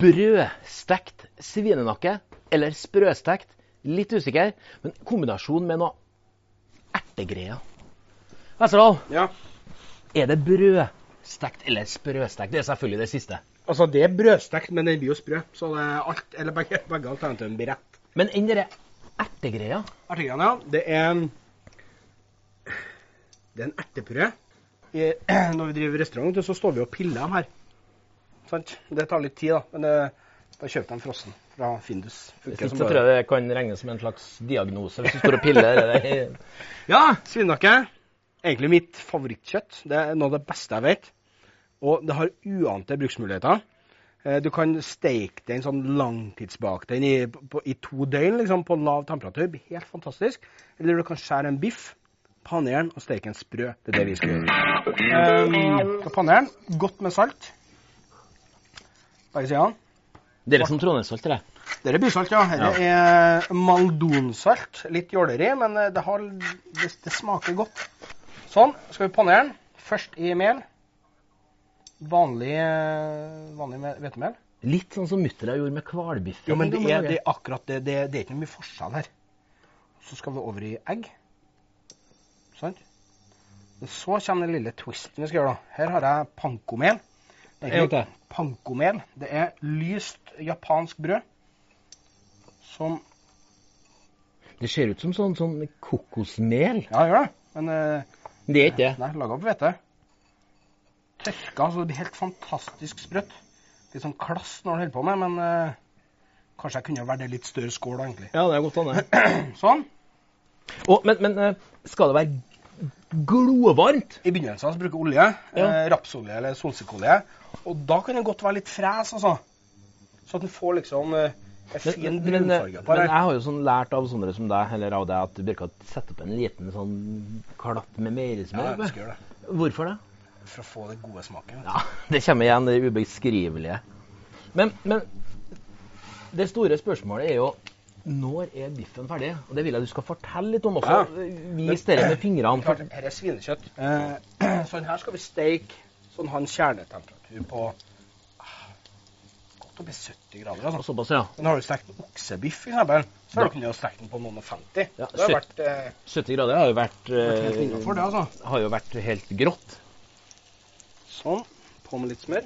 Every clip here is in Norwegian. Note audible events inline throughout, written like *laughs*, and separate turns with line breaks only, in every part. Brødstekt svinenakke eller sprøstekt, litt usikker, men kombinasjon med noe ertegreier. Vesterålen,
Ja.
er det brødstekt eller sprøstekt? Det er selvfølgelig det siste.
Altså, det er brødstekt, men den blir jo sprø. Så det er alt, eller begge, begge alternativene blir rett.
Men den derre ertegreia
Ertegreiene, ja. Det er en, det er en ertepuré. I, *clears throat* når vi driver restaurant, vet du, så står vi og piller dem her. Sant? Det tar litt tid, da. Men eh, da kjøper de frossen fra Findus.
Hvis ikke så tror jeg det kan regnes som en slags diagnose hvis du står og piller. eller-
Ja, svinenakke. Egentlig mitt favorittkjøtt. Det er noe av det beste jeg vet. Og det har uante bruksmuligheter. Eh, Du kan steike den sånn langtidsbake den i, på, i to døgn liksom, på lav temperatur. Det blir Helt fantastisk. Eller du kan skjære en biff, panere den og steke den sprø. Det er det vi skal gjøre. Um, panere den godt med salt. Begge sidene.
Det er som trondheimssalt, det.
Dette er bysalt, ja. Dette er maldonsalt. Litt jåleri, men eh, det, har, det, det smaker godt. Sånn, skal vi panere den. Først i mel. Vanlig, eh, vanlig me- hvetemel.
Litt sånn som mutter'n gjorde med hvalbiffen.
Jo, men det
i gamle
er, det
dager.
er akkurat det, det. Det er ikke noe mye forskjell her. Så skal vi over i egg. Sant? Men Så kommer den lille twisten vi skal gjøre. da. Her har jeg pankomel. Det
En
er
gang
ikke
til.
pankomel. Det er lyst japansk brød som
det ser ut som sånn, sånn kokosmel.
Ja, gjør det. Men eh,
Det er ikke det.
nei, laga på hvete. Tørka, så det blir helt fantastisk sprøtt. Litt sånn klass når du holder på med, men eh, kanskje jeg kunne ha vært en litt større skål, da, egentlig.
Ja, det er godt sånn, det.
Sånn.
Og, men, men eh, skal det være glovarmt?
I begynnelsen så bruker jeg olje.
Ja.
Eh, rapsolje eller solsikkeolje. Og da kan det godt være litt fres, altså. Så at du får liksom eh, en
Men,
fin
men, eh,
brunfarge på
men jeg
det.
har jo sånn lært av sånne som deg eller av deg, at du bør ikke sette på en liten sånn klatt med
Ja,
meierismør.
jeg skal gjøre det.
Hvorfor det?
For å få den gode smaken.
Ja, det kommer igjen, det ubeskrivelige. Men, men det store spørsmålet er jo når er biffen ferdig? Og Det vil jeg du skal fortelle litt om også.
Ja.
Vis dere med fingrene.
Klart,
For,
her er svinekjøtt. Eh, *clears throat* sånn her skal vi steike sånn han kjernetemperatur på ah, godt oppi 70 grader. Altså.
såpass, ja.
Men har du stekt en oksebiff, for eksempel, så har du kunnet stekt den på noen og 50.
Ja,
det har
shit.
vært, eh,
70 grader har jo vært,
vært helt innenfor det,
eh,
altså.
har jo vært helt grått.
Sånn. På med litt smør.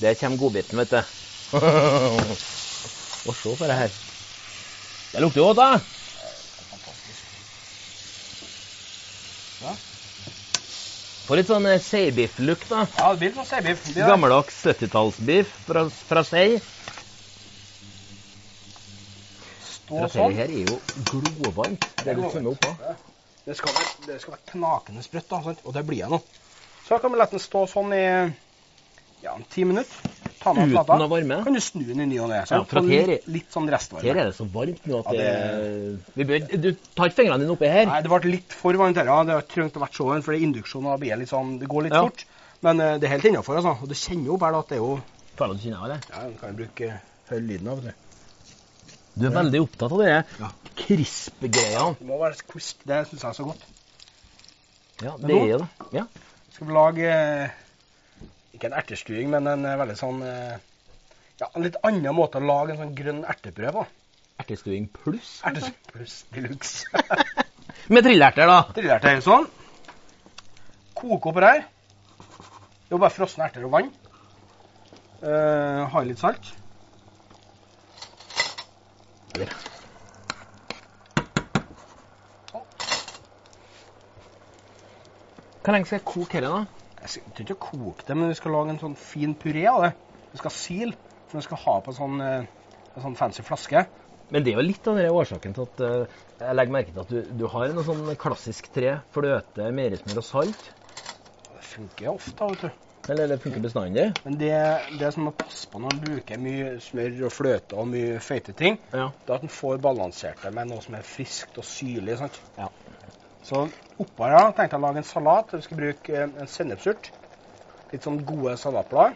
Der kommer godbiten,
*laughs*
vet du. Og se på det her. Det lukter jo godt, da.
Fantastisk.
Får litt sånn eh, seibiff-look, da.
Ja, det blir litt sånn seibiff. Det blir det.
Gammeldags 70-tallsbiff fra, fra sei.
Stå
Dette
sånn.
her er jo glovarmt. Det du kjenner oppå.
Det skal være, det skal være knakende sprøtt, da, sant? og det blir jeg nå. Så kan vi la den stå sånn i ja, en ti minutter. Ta
Uten
med plata.
å varme?
Kan du snu den i ny og ne.
Ja,
sant?
for at
Få
her
litt, litt sånn restvarme.
Her er det så varmt nå at
Ja,
det...
det-
Vi bør, Du tar ikke fingrene dine oppi her.
Nei, det ble litt for varmt her. Ja. Det har ikke trengt å vært så varmt, for induksjonen blir litt sånn, det går litt
Ja.
fort. Men eh, det er helt innafor, altså. Og du kjenner jo bare at det er jo
Føler du kjenner av det?
Ja, du kan bruke høy lyden av det.
Du er veldig opptatt av det
Ja.
krisp-greia.
Det må være crisp. Det syns jeg er så godt.
Ja,
Men
det
nå-
er det. Ja.
Skal vi lage eh, ikke en ertestuing, men en eh, veldig sånn eh, ja, en litt annen måte å lage en sånn grønn ertebrød på.
Ertestuing pluss. kanskje?
Ertestuing pluss de luxe.
Med trilleerter, da.
Trillerte helt sånn. Koke opp her. Det er jo bare frosne erter og vann. Eh, ha i litt salt.
Hvor lenge skal jeg koke dette, da?
Jeg skal- jeg tror ikke å koke det, men vi skal lage en sånn fin puré av det. Vi skal sile, for vi skal ha på en sånn, eh, en sånn fancy flaske.
Men det er jo litt av den der årsaken til at eh, jeg legger merke til at du, du har noe sånn klassisk tre. Fløte, meierismør og salt.
Det funker jo ofte, vet du.
Eller det funker bestandig.
Men det, det som må passe på når man bruker mye smør og fløte og mye føyte ting,
Ja.
det er at man får balansert det med noe som er friskt og syrlig. sant?
Ja.
Så oppå her da, tenkte jeg å lage en salat. Vi skal bruke eh, en sennepsurt, Litt sånn gode salatblad.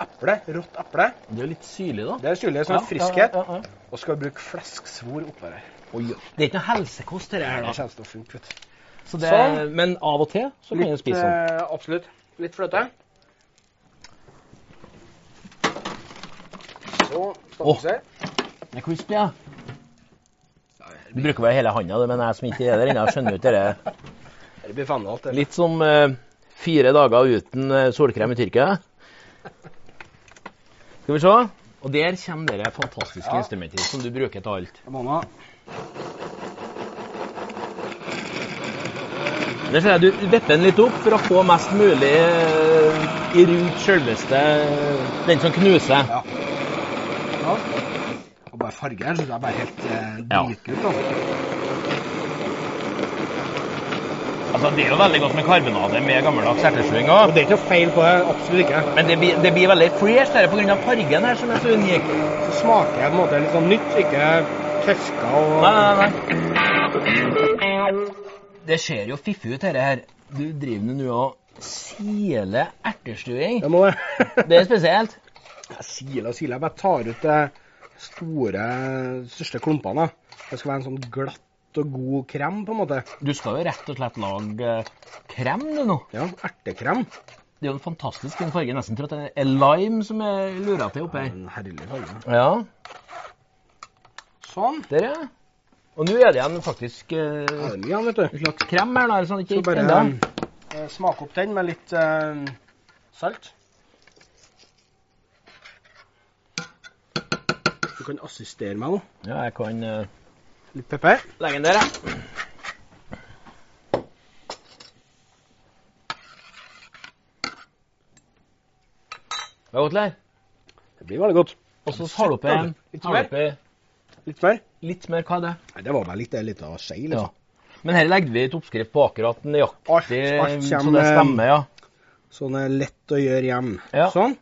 Eple, rått eple.
Det er jo litt syrlig, da.
Det er syrlig, sånn
Ja,
friskhet.
Ja, ja, ja.
Og skal vi bruke flesksvor oppå her.
Oi, ja. det er ikke noe helsekost, dette her.
Det
da.
kjennes til å funke, vet du.
Så det,
Sånn.
men av og til så kan du
Litt,
spise sånn.
eh, absolutt. Litt fløte. Så stappelse.
sånn. Det er crispy, ja. Du bruker vel hele handa, men jeg som ikke er der ennå, jeg skjønner jo ikke det.
Det blir fem alt, det.
Litt som eh, fire dager uten eh, solkrem i Tyrkia. Skal vi se. Og der kommer det fantastiske
Ja.
instrumentet som du bruker til alt.
Mamma.
Der ser jeg du vipper den litt opp for å få mest mulig eh, i rundt selveste eh, den som knuser.
Ja. ja. Og bare farge her, så det er bare helt eh,
Ja.
dritkult. da.
Altså, det er jo veldig godt med karbonade med gammeldags ertesluing
Og det er ikke noe feil på det. Absolutt ikke.
Men det blir, det blir veldig fresh her pga. fargen her som er så unik.
Så smaker jeg på en måte litt sånn nytt, ikke tørka og
Nei, nei, nei. Det ser jo fiffig ut, dette her. Du driver nå og siler ertestuing.
Det må det.
*laughs* Det er spesielt.
Jeg siler og siler. Jeg bare tar ut de store, største klumpene. da. Det skal være en sånn glatt og god krem, på en måte.
Du skal jo rett og slett lage eh, krem du, nå.
Ja, ertekrem.
Det er jo en fantastisk fin farge. Nesten tror at det er lime som er lura til oppi her.
En herlig farge.
Ja.
Sånn.
Der, ja. Og nå er det igjen faktisk eh,
Da er det mye igjen, vet
en
du.
slags krem her, da. eller Sånn, ikke
Skal bare
enda.
eh, smake opp den med litt eh, salt. Du kan assistere meg nå.
Ja, jeg kan eh,
Litt pepper.
legge den der, jeg. Det var godt, Leir.
Det blir veldig godt.
Og så tar du oppi en
Litt
tar du
mer?
oppi
Litt mer?
litt mer, hva er det?
Nei, det var bare litt, litt av skei,
Ja.
liksom.
Men her legger vi et oppskrift på akkurat
Alt-
nøyaktig,
alt
så
kommer-
det stemmer, ja.
Sånn er lett å gjøre hjem.
Ja.
Sånn.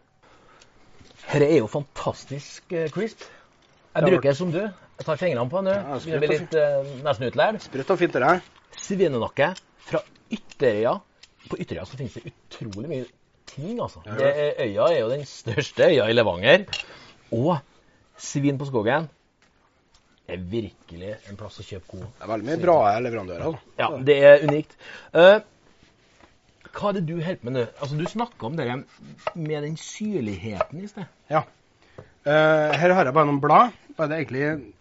Dette er jo fantastisk eh, crisp. Jeg
Ja.
bruker som du. Jeg tar fingrene på den nå.
Ja,
Begynner å bli litt eh, nesten utlært.
Sprøtt og fint det der.
Svinenakke fra Ytterøya. På Ytterøya så finnes det utrolig mye ting, altså.
Ja, ja.
Det er, øya er jo den største øya i Levanger. Og svin på skogen er virkelig en plass å kjøpe god
Det er veldig mye bra leverandører. Altså.
Ja, det er unikt. Eh, hva er det du holder på med nå? Altså, Du snakka om det der med den syrligheten i sted.
Eh, her har jeg bare noen blad. Bare det er egentlig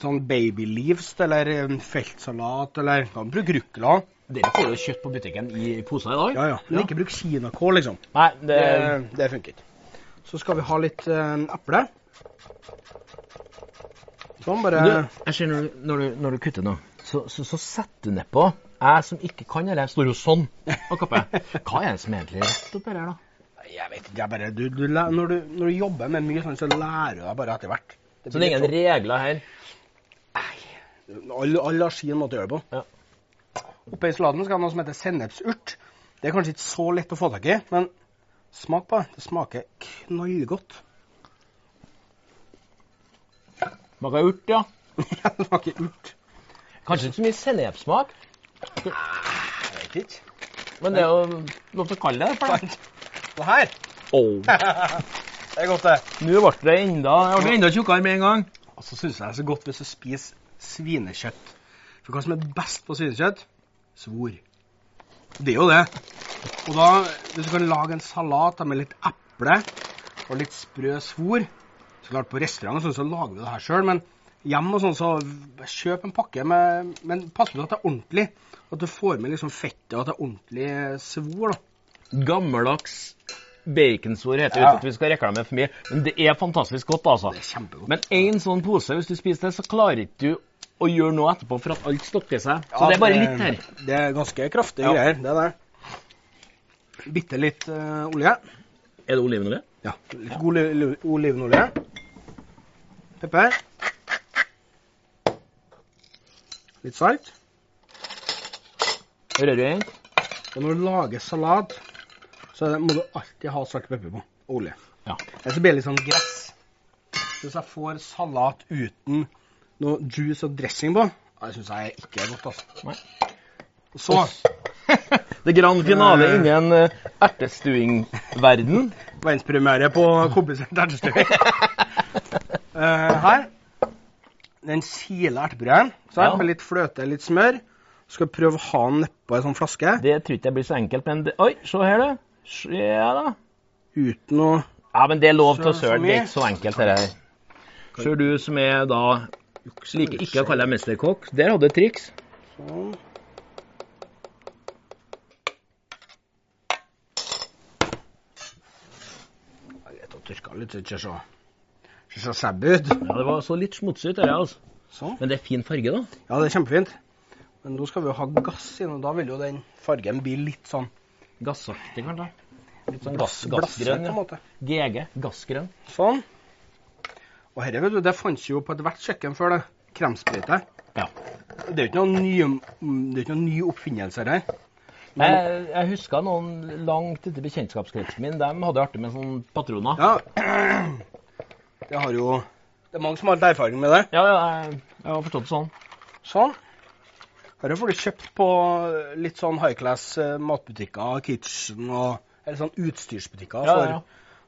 sånn baby leaves eller en feltsalat eller kan bruke rucola.
Dere får jo kjøtt på butikken i poser i dag.
Ja, ja. Men ikke bruk kinakål, liksom.
Nei, det,
Det, det funker ikke. Så skal vi ha litt eh, eple. Sånn, bare
du, Jeg ser når du, når du, når du kutter nå, så, så, så setter du nedpå. Jeg som ikke kan det, jeg står jo sånn og kapper. Hva er det som egentlig er rett oppi her, da?
Jeg vet ikke, jeg bare du, du, læ- når, du, når du jobber med mye sånn, så lærer du deg bare etter hvert.
Så det er ingen regler her.
Alle sånn- all har sin måte å gjøre det på.
Ja.
Oppe i salaten skal det ha noe som heter sennepsurt. Det er kanskje ikke så lett å få tak i, men smak på det. Det smaker knallgodt. *laughs*
Smaker urt, ja.
det smaker urt.
Kanskje ikke så mye sennepsmak,
Jeg vet ikke.
men det er jo lov til å kalle det det. for det.
Det her,
Åh,
det er godt det.
Nå ble det enda, jeg ble enda tjukkere med en gang.
Og så syns jeg det er så godt hvis du spiser svinekjøtt. For hva som er best på svinekjøtt? Svor. Det er jo det. Og da, hvis du kan lage en salat da, med litt eple og litt sprø svor Så klart, på restaurant og sånn, så lager vi det her sjøl, men hjemme og sånn, så kjøp en pakke med Men pass på at det er ordentlig. At du får med liksom fettet, og at det er ordentlig svor, da.
Gammeldags baconsvor heter det
Ja.
uten at vi skal reklamere for mye. Men det er fantastisk godt, altså.
Det er kjempegodt.
Men én sånn pose, hvis du spiser det, så klarer ikke du å gjøre noe etterpå for at alt stokker seg. Så
Ja,
det er bare litt her.
Det er ganske kraftige
Ja.
greier, det der. Bitte litt eh, olje.
Er det olivenolje?
Ja, litt god li- li- olivenolje. Pepper. Litt salt.
Rødrøyk?
Og når du lager salat, så er det- må du alltid ha salt og pepper på. og Olje.
Ja.
Ellers så blir det litt sånn gress. Så Hvis jeg får salat uten noe juice og dressing på, ja, det syns jeg ikke er godt, altså.
Nei.
Så
Det grand finale innen eh, ertestuingverden.
Verdenspremiere
*laughs*
på komplisert ertestuing. Eh, her. Den sile ertebrødet.
Ja.
Med litt fløte, litt smør. Skal prøve å ha den nedpå ei sånn flaske
Det tror ikke jeg blir så enkelt, men det, Oi, se her, du. Se, Ja da.
uten å
Ja, men det er lov til å
Sjøl
søle. Det er
for meg.
ikke så enkelt, det her. Sjøl du som er da liker ikke å kalle deg mesterkokk, der hadde du et triks.
Sånn. Det er greit å tørke litt, så det ikke så ikke så sæbb ut.
Ja, Det var så litt smutsig, det der, altså.
Sånn.
Men det er fin farge, da.
Ja, det er kjempefint. Men nå skal vi jo ha gass inn, og da vil jo den fargen bli litt sånn
Gassaktig, kanskje. Litt sånn gass,
blass- blassete,
gassgrønn.
på en
Ja.
måte.
GG, gassgrønn.
Sånn. Og dette, vet du, det fantes jo på ethvert kjøkken før, det. Kremsprøyte.
Ja.
Det er jo ikke noen nye, det er jo ikke noen nye oppfinnelser her.
Jeg, jeg husker noen langt ute i bekjentskapskretsen min. De hadde artig med sånne patroner.
Ja. *clears throat* Det har jo Det er mange som har litt erfaring med det.
Ja, ja, jeg, jeg har forstått det sånn.
Sånn. Her får du kjøpt på litt sånn high class eh, matbutikker, kitchen og Eller sånn utstyrsbutikker.
Ja, ja, ja.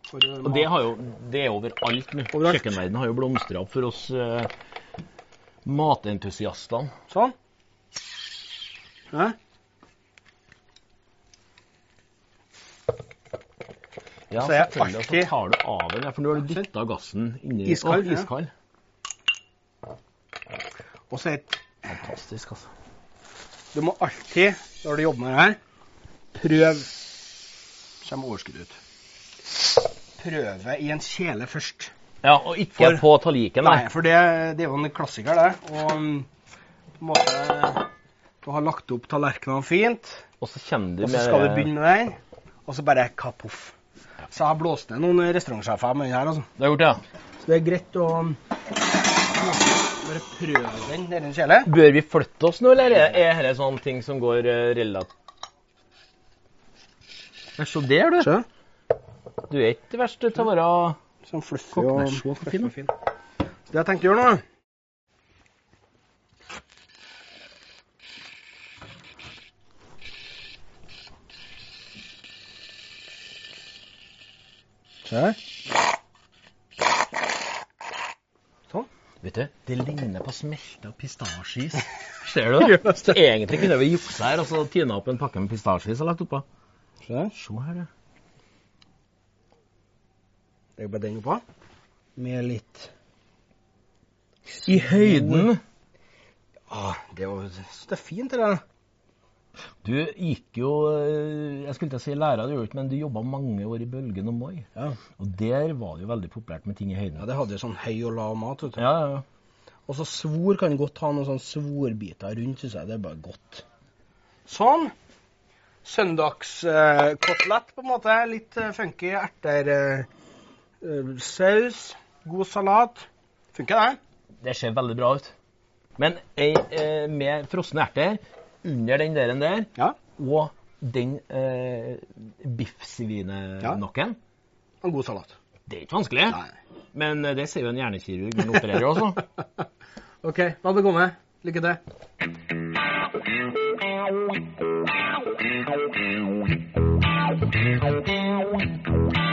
For, for, eh,
Og
mat.
det, har jo, det er overalt nå.
Overalt.
Kjøkkenverdenen har jo blomstra opp for oss eh, matentusiastene.
Sånn. Ja.
Ja,
Så jeg
selvfølgelig, og
alltid-
så tar du av den, ja, for nå har du dytta gassen inni
Iskald,
Å,
ja.
iskald.
Og så er det-
Fantastisk, altså.
du må alltid, når du jobber med det her, prøv Kommer overskuddet ut. Prøve i en kjele først.
Ja, og ikke
For-
på taliken,
Nei,
nei.
for det, det er jo en klassiker, det. Og mm, på en måte Du har lagt opp tallerkenene fint,
Og så kommer du
og
med
så skal du begynne med den, og så bare kapoff. Så jeg har blåst ned noen restaurantsjefer med den her, altså.
Du har gjort det, ja.
Så det er greit å mm, bare prøve den nedi en kjele.
Bør vi flytte oss nå, eller er- er dette sånne ting som går uh, relativt Ja, Se der, du.
Se,
Du er ikke verst til å være
sånn fluffy
Kokken er
og
så
fluffy
fin, da.
og fin. Så det jeg tenkte å gjøre nå Se her.
Vet du, det ligner på smelta
*laughs*
pistasjeis. Ser du? det? Egentlig kunne vi juksa her og så tina opp en pakke med pistasjeis og lagt oppå.
Se her.
Se her, ja.
Det er bare den oppå. Med litt
I høyden.
ah, det, var, det er fint, det der.
Du gikk jo eh, Jeg skulle ikke si lærer, det gjorde du ikke, men du jobba mange år i Bølgen og Moi.
Ja.
Og der var det jo veldig populært med ting i høyden.
ja, det hadde jo sånn høy og lav mat. vet du.
Ja, ja, ja.
Og så svor kan godt ha noen sånne svorbiter rundt, syns jeg. Det er bare godt. Sånn. Søndagskotelett, på en måte. Litt eh, funky erter, eh, eh, saus, god salat. Funker det?
Det ser veldig bra ut. Men ei, eh, med frosne erter under den deren der,
Ja.
og den eh, biffsvinenokken
En god salat.
Det er ikke vanskelig. Men eh, det sier jo en hjernekirurg når han opererer også.
*laughs* OK, la det komme. Lykke til.
Thank